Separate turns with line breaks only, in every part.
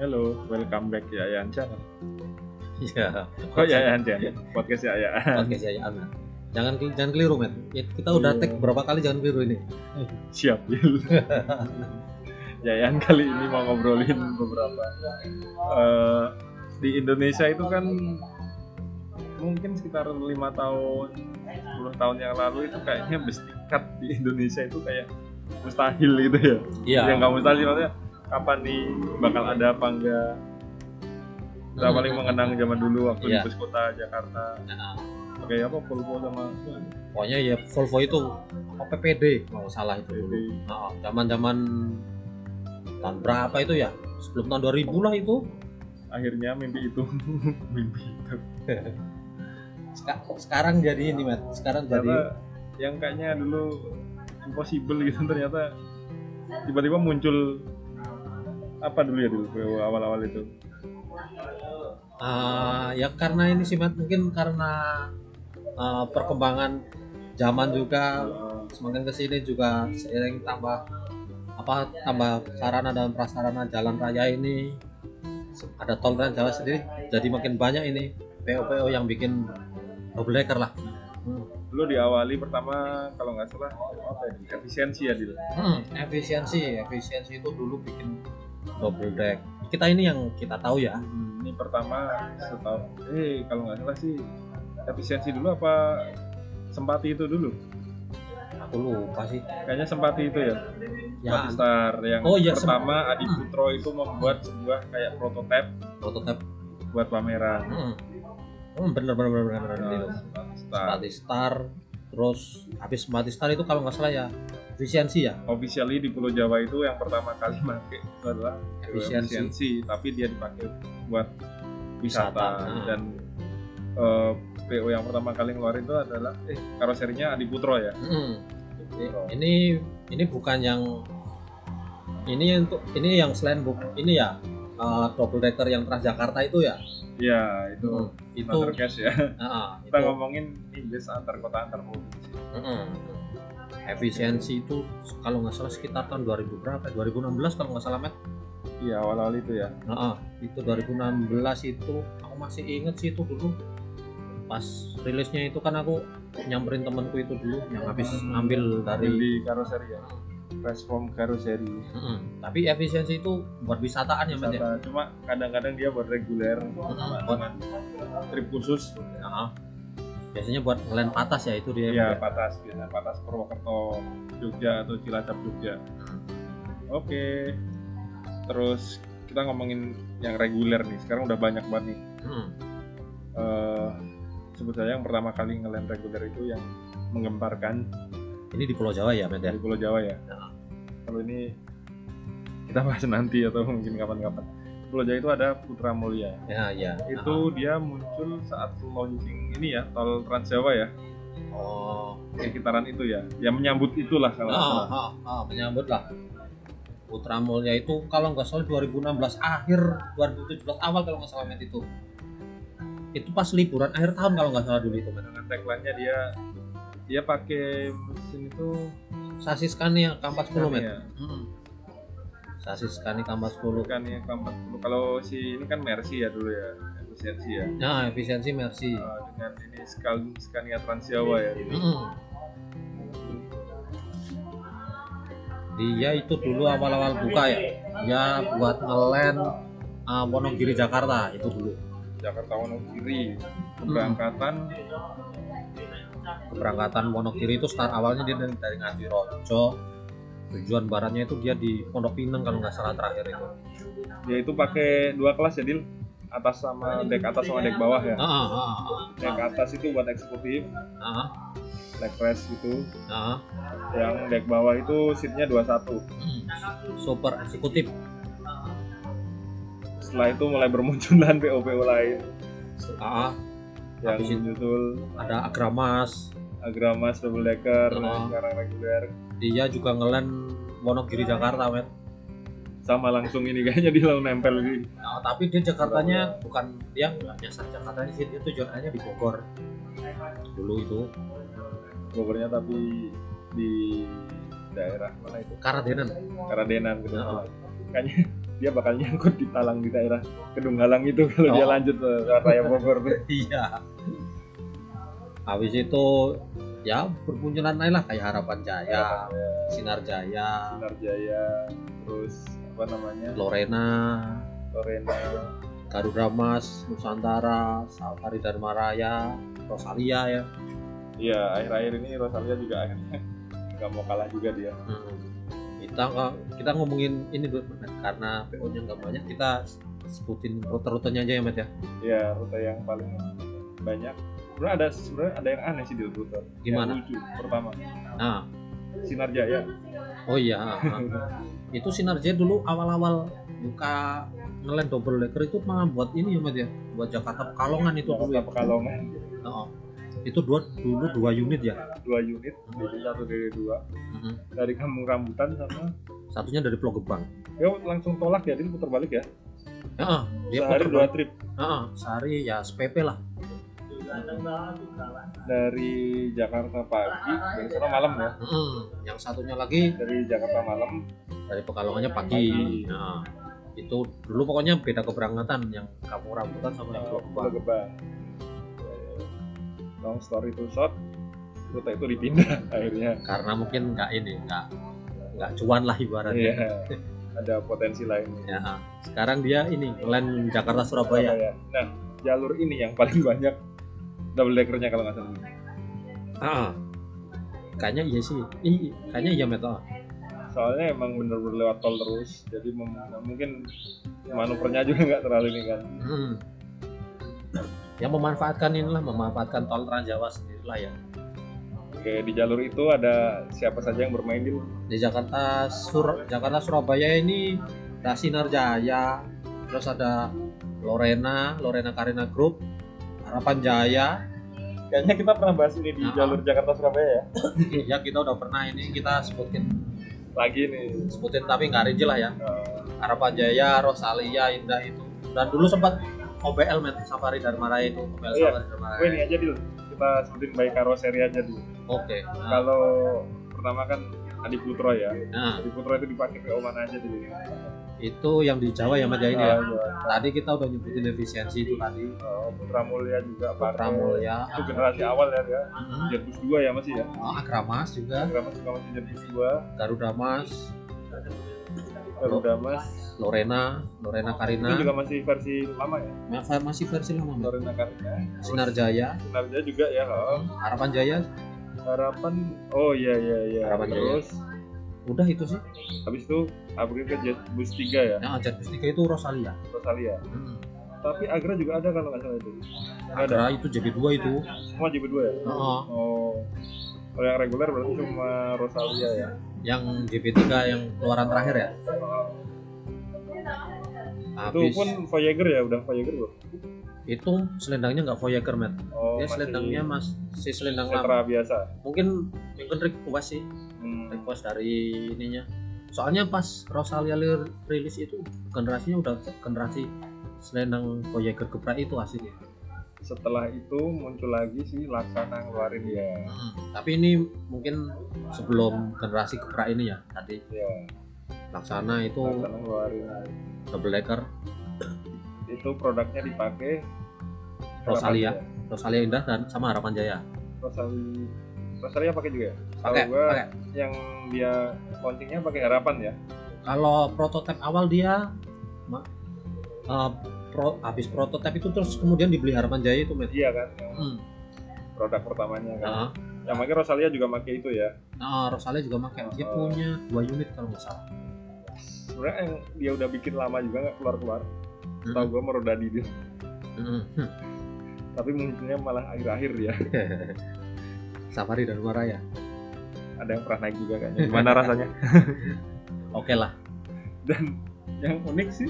Hello, welcome back Yayan Channel.
Iya.
Oh Yayan Channel, podcast Yayan.
Podcast ya, aman. Jangan jangan keliru, men. Ya, kita udah
Iya.
tag berapa kali jangan keliru ini.
Siap, Bil. Yayan kali ini mau ngobrolin beberapa. eh, di Indonesia itu kan mungkin sekitar lima tahun, 10 tahun yang lalu itu kayaknya bestikat di Indonesia itu kayak mustahil gitu ya.
Iya.
Yang nggak mustahil maksudnya kapan nih bakal ada apa enggak. Kita
Hmm.
paling mengenang zaman dulu waktu
Iya.
di bus kota Jakarta.
Nah,
Pakai apa Volvo sama
pokoknya ya Volvo itu apa PPD kalau nggak salah itu dulu.
PPD.
Nah, zaman-zaman tahun berapa itu ya? Sebelum tahun 2000 lah itu.
akhirnya mimpi itu mimpi itu
Seka- sekarang jadi ini, Mat. Sekarang jadi
ternyata yang kayaknya dulu impossible gitu ternyata tiba-tiba muncul apa dulu ya dulu PO awal-awal itu
ah, ya karena ini sih, Mat, mungkin karena ah, perkembangan zaman juga semakin kesini juga seiring tambah apa tambah sarana dan prasarana jalan raya ini se- ada tol trans Jawa sendiri jadi makin banyak ini PO-PO yang bikin double decker lah
dulu diawali pertama kalau nggak salah apa ya, efisiensi ya dulu
Hmm, efisiensi efisiensi itu dulu bikin double deck kita ini yang kita tahu ya
ini pertama setahun eh kalau nggak salah sih efisiensi dulu apa sempati itu dulu
aku lupa sih
kayaknya sempati itu ya
ya
Sempati Star yang
Oh, iya,
pertama Adi Putro itu membuat sebuah kayak prototipe
prototipe
buat pameran
hmm. Hmm, bener bener bener bener, bener, bener.
Sempati Star.
Mati Star terus habis Mati Star itu kalau nggak salah ya efisiensi ya
officially di Pulau Jawa itu yang pertama kali pakai itu adalah
Efisiensi.
efisiensi tapi dia dipakai buat
Wisata. Ah.
wisata dan eh, PO yang pertama kali ngeluarin itu adalah eh karoserinya Adi Putro ya
Hmm.
Oh.
Ini ini bukan yang ini untuk ini yang selain buk ini ya eh, double decker yang Transjakarta itu ya.
iya itu
Hmm, Itu
antar cash ya
heeh,
kita
itu
ngomongin Inggris antar kota antar provinsi
heeh. efisiensi itu kalau nggak salah sekitar tahun 2000 berapa? 2016 kalau nggak salah met.
iya awal-awal itu ya
Heeh, itu 2016 itu aku masih inget sih itu dulu pas rilisnya itu kan aku nyamperin temanku itu dulu yang habis ngambil dari
di karoseri ya transform karoseri
Heeh. tapi efisiensi itu buat wisataan ya Met ya.
wisata Iya, cuma kadang-kadang dia buat reguler sama
buat-
dengan trip khusus
Heeh. biasanya buat ngelen patas ya itu dia
Iya, Patas biasa Patas Purwokerto Jogja atau Cilacap Jogja. Oke. Terus kita ngomongin yang reguler nih. Sekarang udah banyak banget nih.
Hmm.
Eh sebut saja yang pertama kali ngelem reguler itu yang menggemparkan
ini di Pulau Jawa ya Met ya
dari Pulau Jawa ya.
Ya.
Kalau ini kita bahas nanti atau mungkin kapan-kapan. Pulau Jawa itu ada Putra Mulia.
ya ya
Itu dia muncul saat launching ini ya, tol Trans Jawa ya,
oh
sekitaran itu ya. Ya menyambut itulah kalau nggak
ah,
salah.
ah, ah, menyambut lah Putra Mulia itu kalau nggak salah 2016 akhir 2017 awal kalau nggak salah Met itu itu pas liburan akhir tahun kalau nggak salah dulu itu Met
dengan tagline-nya dia dia pakai mesin itu
sasis Scania kampas 10 Met
ya,
Hmm. sasis Scania kampas 10
bukan yang keempat puluh kalau si ini kan Mercy ya dulu ya efisiensi ya
nah efisiensi Mercy
Eh, dengan ini Skal Scania Trans Jawa ya
Mm-mm. Dia itu dulu awal-awal buka ya, dia buat ngelen uh, Wonogiri Jakarta itu dulu
Jakarta Wonogiri keberangkatan
keberangkatan Wonogiri itu start awalnya dia dari, dari Ngadirojo tujuan baratnya itu dia di Pondok Pinang kalau nggak salah terakhir itu.
dia Ya, itu pakai dua kelas ya Dil atas sama dek atas sama dek bawah ya
Ah, ah, ah,
dek atas itu buat eksekutif
ah, ah,
dek press gitu
ah.
yang dek bawah itu seatnya 21
Hmm. super eksekutif
setelah itu mulai bermunculan PO-PO lain
Ah, ah.
yang
Habis itu-
menyusul
ada Agramas
Agramas Double Decker dan
Oh.
sekarang reguler
dia juga ngelen Wonogiri Jakarta met
sama langsung ini kayaknya dia langsung nempel di
Nah, tapi dia Jakartanya bukan dia nggak nyasar Jakarta sih dia tujuannya di Bogor dulu itu
Bogornya tapi di daerah mana itu
Karadenan
Karadenan gitu
Oh.
kayaknya dia bakal nyangkut di talang di daerah Kedunggalang itu kalau dia
Oh.
lanjut ke Raya Bogor tuh.
iya habis itu ya bermunculan lain lah kayak harapan jaya sinar jaya
Sinar Jaya, terus apa namanya?
lorena
Lorena,
garuda mas nusantara safari dharma raya rosalia ya
Iya, akhir-akhir ini Rosalia juga akhirnya nggak mau kalah juga dia.
Hmm. kita kita ngomongin ini dulu Mat, karena PO nya nggak banyak kita sebutin rute-rutenya aja ya Mat ya
Iya, rute yang paling banyak. Sebenarnya ada sebenarnya ada yang aneh sih di rute. Yang
gimana
lucu. Pertama,
nah
Sinar Jaya.
oh iya itu sinergi dulu awal-awal buka ngelend double decker itu malah buat ini ya Mat ya buat Jakarta Pekalongan itu dulu ya
Kota Pekalongan
Oh, oh. itu dua dulu dua unit ya
dua unit, DD satu DD dua
Mm-mm.
dari Kampung Rambutan sama
satunya dari Pulau Gebang
ya langsung tolak ya, jadi putar balik ya.
ya ah, dia
Sehari
puter
dua
balik.
trip
Ah, ah, sehari ya SPP lah
dari Jakarta pagi, dari sana malam ya.
Mm-mm. yang satunya lagi
Dari Jakarta malam
dari Pekalongannya pagi nah, itu dulu pokoknya beda keberangkatan yang kamu rambutan sama yang Pulau
Pulau Gebang.
Gebang
Eh, Long story to short, rute itu dipindah akhirnya.
karena mungkin nggak ini nggak nggak cuan lah ibaratnya
Iya. Ada potensi lainnya.
Ya, ah. sekarang dia ini ngelend Jakarta Surabaya
Surabaya. Nah, jalur ini yang paling banyak double deckernya kalau nggak salah.
Ah, ah. kayaknya iya sih Ih, kayaknya iya metal
Soalnya emang bener-bener lewat tol terus, jadi mem- nah, mungkin manuvernya juga nggak terlalu ini kan.
Hmm. Ya memanfaatkan inilah, memanfaatkan tol Trans Jawa sendirilah ya.
Oke, di jalur itu ada siapa saja yang bermain di
Di Jakarta Sur Jakarta Surabaya ini ada Sinar Jaya, terus ada Lorena, Lorena Karina Group, Harapan Jaya.
Kayaknya kita pernah bahas ini di
Ah.
jalur Jakarta Surabaya ya.
ya kita udah pernah ini kita sebutin
Lagi nih.
sebutin tapi nggak rinci lah ya.
eh,
Harapan Jaya, Rosalia, Indah itu. Dan dulu sempat OBL men Safari Dharma Raya itu, OBL
Iya.
Safari Dharma
Gue
Raya.
ini aja dulu. Kita sebutin by karoseri aja dulu.
Oke. Nah,
Kalau pertama kan Adi Putro ya.
nah,
Adi Putro itu dipakai PO mana aja Eh, dulu.
itu yang di Jawa ya Mas ya ini
Ah,
ya.
iya.
tadi kita udah nyebutin efisiensi itu tadi
Eh, Putra Mulia juga pakai.
Putra Mulia
Itu generasi awal ya dia.
Mhm.
Jerbus 2 ya masih ya.
Oh, Akramas juga
Drama suka masih Jerbus 2.
Garuda Mas Nah.
Garuda Mas.
Lorena Lorena Karina
Itu juga masih versi lama ya.
Masa masih versi lama Mbak.
Lorena Karina. Terus
Sinar Jaya
Sinarja juga ya. oh.
Harapan Jaya
Harapan. Oh iya iya iya.
Harapan ya, Jaya.
Terus
udah itu sih
habis itu upgrade ke Jerbus 3 ya.
yang ajar tiga itu Rosalia
Rosalia.
Mhm.
Tapi Agra juga ada kalau nggak salah itu. Ada.
Agra itu JB2 itu
Semua JB2 ya.
Heeh.
Oh. Kalau yang reguler berarti cuma Rosalia ya.
yang JB3 yang keluaran terakhir ya
Itu
habis
pun Voyager ya, udah Voyager belum?
itu selendangnya nggak Voyager Matt
Oh,
dia selendangnya mas si selendang
Setra
lama
biasa.
mungkin mungkin request sih
Hmm.
request dari ininya soalnya pas Rosalia lir- rilis itu generasinya udah generasi selendang Voyager gebrak itu ya. aslinya
Setelah itu muncul lagi si Laksana ngeluarin dia.
tapi ini mungkin sebelum generasi gebrak ini ya tadi
Ya,
laksana itu
Laksana ngeluarin.
double decker
Itu produknya dipakai
Rosalia.
Harapan
Rosalia Indah dan sama Harapan Jaya
Jaya. Rosalia. Rosalia pakai juga ya?
pakai
Kalau gua
pakai
yang dia launchingnya pakai harapan ya.
kalau prototipe awal dia ma- eh, pro, habis prototipe itu terus kemudian dibeli Harapan Jaya itu Matt.
Iya kan, yang
Hmm.
produk pertamanya kan.
Nah,
Yang pakai Rosalia juga pakai itu ya.
nah, Rosalia juga pakai dia punya dua unit kalau nggak salah
Sebenarnya yang dia udah bikin lama juga nggak keluar-keluar.
Hmm.
Tahu gua merodadi dia.
Mhm.
Tapi munculnya malah akhir-akhir ya.
Safari dan Raya.
Ada yang pernah naik juga kayaknya. Gimana rasanya?
Oke lah.
dan yang unik sih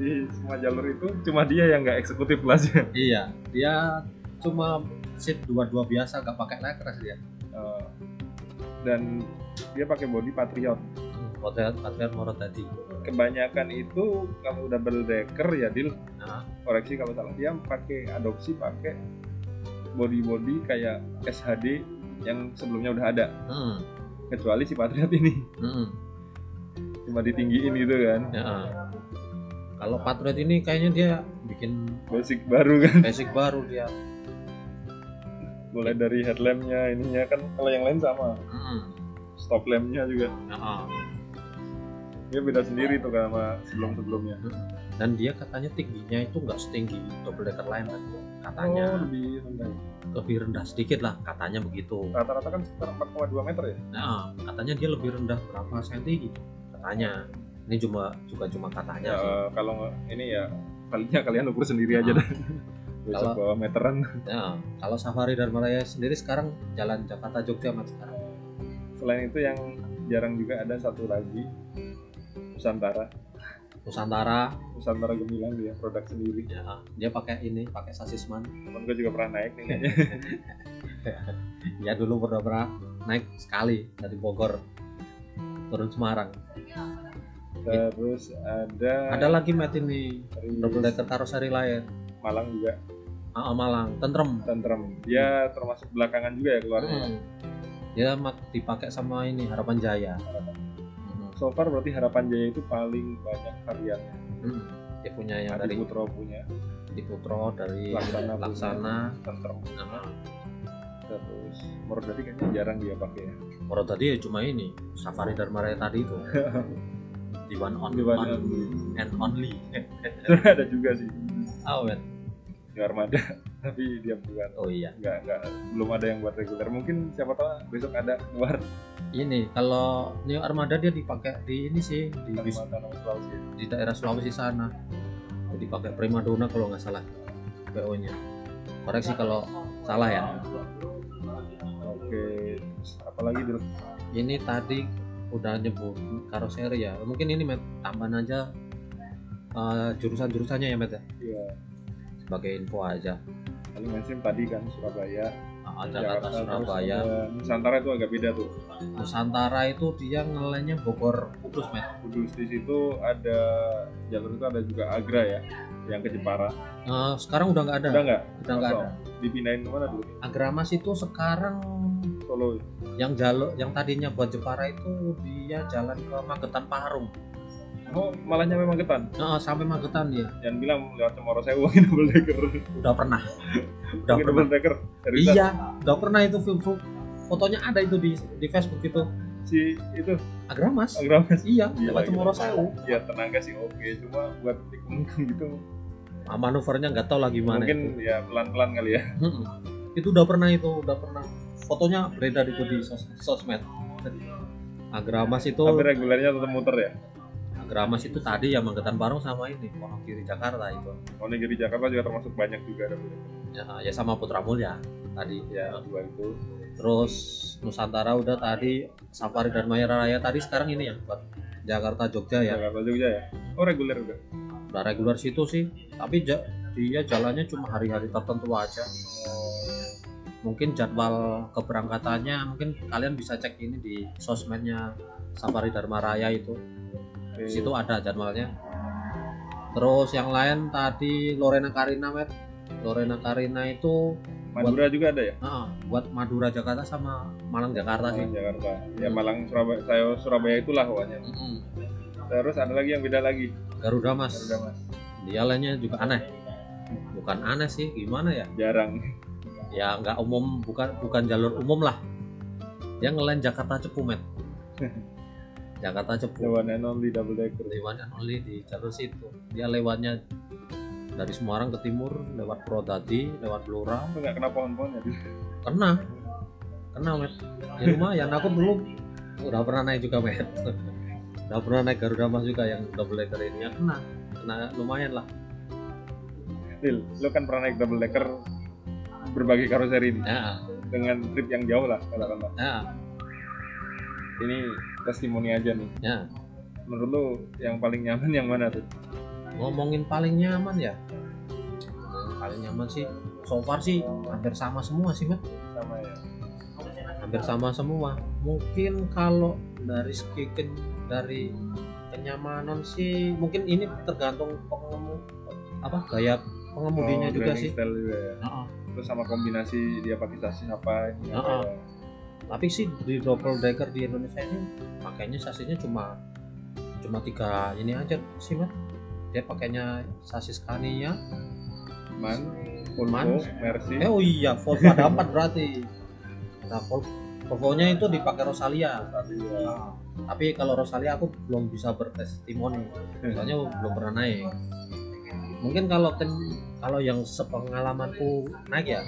di semua jalur itu cuma dia yang nggak eksekutif kelasnya
Iya, dia cuma seat dua-dua biasa gak pakai lekres dia.
Eh, dan dia pakai body patriot
Hotel Patriot Moro tadi.
kebanyakan itu kalau udah double decker ya dil
Nah.
koreksi kalau salah dia pakai adopsi pakai body body kayak SHD yang sebelumnya udah ada
Hmm.
kecuali si patriot ini
hmm.
cuma ditinggiin gitu kan
Ya, ah. kalau Patriot ini kayaknya dia bikin
basic baru kan
basic baru dia.
mulai dari headlampnya ininya kan kalau yang lain sama
Hmm.
stop lampnya juga
ya, ah.
dia beda sendiri tuh kan sama sebelum sebelumnya
Dan dia katanya tingginya itu nggak setinggi double decker lain kan? Katanya
Oh, lebih rendah
lebih rendah sedikit lah katanya begitu.
rata-rata kan sekitar 4,2 meter ya
Nah, katanya dia lebih rendah berapa senti gitu katanya. Ini cuma juga cuma katanya
ya
sih.
eh, kalau nggak- ini ya palingnya kalian ukur sendiri aja
Ah.
dah besok bawa meteran
Ya, kalau Safari dan Malaya sendiri sekarang jalan Jakarta Jogja mas sekarang.
selain itu yang jarang juga ada satu lagi Nusantara
Nusantara
Nusantara Gemilang dia produk sendiri
ya, dia pakai ini pakai sasisman.
temen gue juga pernah naik nih kayaknya.
Ya dulu pernah pernah naik sekali dari Bogor turun Semarang.
terus ada
Ada lagi mat ini
dari
double decker karoseri lain.
Malang juga
AA Malang, tentrem.
tentrem dia termasuk belakangan juga ya keluarnya
Hmm. Dia mak- dipakai sama ini Harapan Jaya. Hmm.
so far berarti Harapan Jaya itu paling banyak variannya
Hmm. Dia punya yang
Adi
dari
Putro punya
Diputro, dari
Laksana punya.
Laksana.
tentrem
Nah,
terus Mordadi kayaknya jarang dia pakai ya
Kalau tadi ya cuma ini Safari Dharma Raya tadi itu di one on
Di one
one and only
Sebenarnya ada juga sih
awet
di Armada tapi dia bukan
oh iya
nggak nggak belum ada yang buat reguler mungkin siapa tahu besok ada keluar
ini kalau New Armada dia dipakai di ini sih di,
Kalimantan atau Sulawesi
di daerah Sulawesi sana jadi pakai primadona kalau nggak salah PO nya koreksi kalau salah ya
oke terus apalagi dulu
ini tadi udah nyebut karoseri ya mungkin ini Matt, tambahan aja jurusan jurusannya ya Matt ya
ya
sebagai info aja
paling mainstream tadi kan Surabaya
Ah, Jakarta Surabaya
terus, eh, Nusantara itu agak beda tuh
Nusantara itu dia ngelennya Bogor Kudus met.
Kudus di situ ada jalur itu ada juga Agra ya yang ke Jepara
Eh, sekarang udah nggak ada,
udah nggak
udah nggak ada.
dipindahin kemana dulu
Agramas itu sekarang
Solo
yang jalur yang tadinya buat Jepara itu dia jalan ke Magetan Parung.
oh malah nyampe Magetan
Nah, sampai Magetan dia
jangan bilang lewat Cemoro Sewu mungkin double decker
udah pernah. udah
mungkin
pernah.
double decker seriusan
Iya, udah pernah itu film fotonya ada itu di di Facebook itu.
si itu
Agramas.
Agramas
Iya,
Gila,
lewat
gila.
Cemoro Sewu.
ya tenaga sih oke cuma buat tikung gitu
Ah, Manuvernya nggak tahu lah gimana.
mungkin
itu.
ya pelan-pelan kali ya
Mm-mm. itu udah pernah itu, udah pernah. Fotonya beredar itu di sos- sosmed. Agramas itu
tapi regulernya tetap muter ya
Agramas itu tadi ya Magetan Parung sama ini Wonogiri Jakarta itu
Onigiri Jakarta juga termasuk banyak juga double decker
ya, ya sama Putra Mulia tadi
ya dua itu
terus Nusantara udah tadi Safari dan Maya Raya tadi sekarang ini ya buat Jakarta Jogja ya
Jakarta Jogja ya oh reguler udah
udah reguler situ sih tapi ja- dia jalannya cuma hari-hari tertentu aja mungkin jadwal keberangkatannya mungkin kalian bisa cek ini di sosmednya Safari Dharma Raya itu
Oke.
di situ ada jadwalnya terus yang lain tadi Lorena Karina Met Lorena Karina itu
Madura juga ada ya
ah, buat Madura Jakarta sama Malang Jakarta sih
Malang Jakarta ya Malang Surabaya saya Surabaya itulah awalnya
Mm-mm.
terus ada lagi yang beda lagi
Garuda Mas
Garuda Mas
dia lainnya juga aneh bukan aneh sih gimana ya
jarang
ya nggak umum bukan bukan jalur umum lah dia ngelain Jakarta Cepu Met Jakarta
the
Cepu
one and only double decker
lewatnya only di jalur situ dia lewatnya dari Semarang ke timur lewat Prodadi lewat Blora
itu nggak kena pohon-pohon ya
kena kena met ya lumayan aku dulu udah pernah naik juga met udah pernah naik Garuda Mas juga yang double decker ini ya kena kena lumayan lah
Lil lo kan pernah naik double decker berbagai karoseri ini
ya
dengan trip yang jauh lah katakanlah
ya
ini testimoni aja nih
ya
menurut lo yang paling nyaman yang mana tuh
ngomongin paling nyaman ya Ngomongin paling nyaman sih so far sih hampir sama semua sih met
sama ya
hampir sama semua mungkin kalau dari segi ken- dari kenyamanan sih mungkin ini tergantung pengemudi apa gaya pengemudinya
Oh,
juga
driving
sih
style juga ya.
Heeh.
terus sama kombinasi dia pakai sasis apa ini apa
Heeh.
ya.
tapi sih di double decker di Indonesia ini pakainya sasisnya cuma cuma tiga ini aja sih Mat. dia pakainya sasis kaninya
man
Man.
Volvo Mercy
eh oh iya Volvo ada empat berarti nah Vol- Volvo-nya itu dipakai Rosalia
Rosalia.
tapi kalau Rosalia aku belum bisa bertestimoni soalnya belum pernah naik mungkin kalau ken- kalau yang sepengalamanku naik ya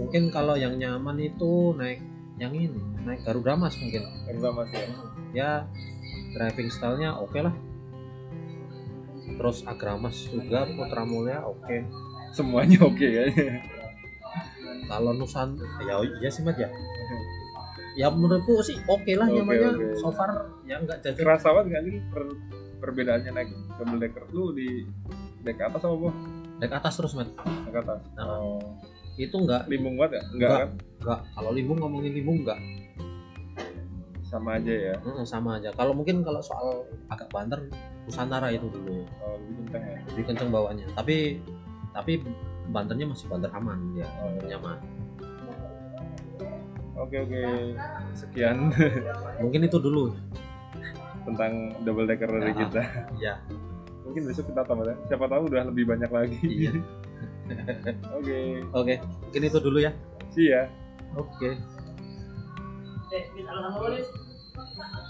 mungkin kalau yang nyaman itu naik yang ini naik Garuda Mas mungkin
yang sama sih ya.
ya driving stylenya oke lah terus Agramas juga Putra Mulia oke
semuanya oke ya. kayaknya
kalau Nusan ya iya sih Mas ya ya menurutku sih oke lah
Oke,
nyamannya
oke.
so far ya nggak jajal
kerasa banget nggak sih per- perbedaannya naik double decker lu di deck atas apa bawah
naik atas terus Mas
deck atas
Nah.
oh.
itu nggak
limbung banget ya enggak
Nggak.
kan
nggak kalau limbung ngomongin limbung nggak
sama aja ya
Mm, sama aja kalau mungkin kalau soal agak banter Nusantara itu dulu
oh, lebih kencang ya
lebih kenceng bawaannya tapi tapi banternya masih banter aman ya
Oh, iya.
nyaman
oke oke sekian
mungkin itu dulu
tentang double decker dari
Ya.
kita
ya
mungkin besok kita tambah ya. siapa tahu udah lebih banyak lagi
iya
oke
Oke, mungkin itu dulu ya.
see ya
Oke.
Oke, bisa langsung nulis.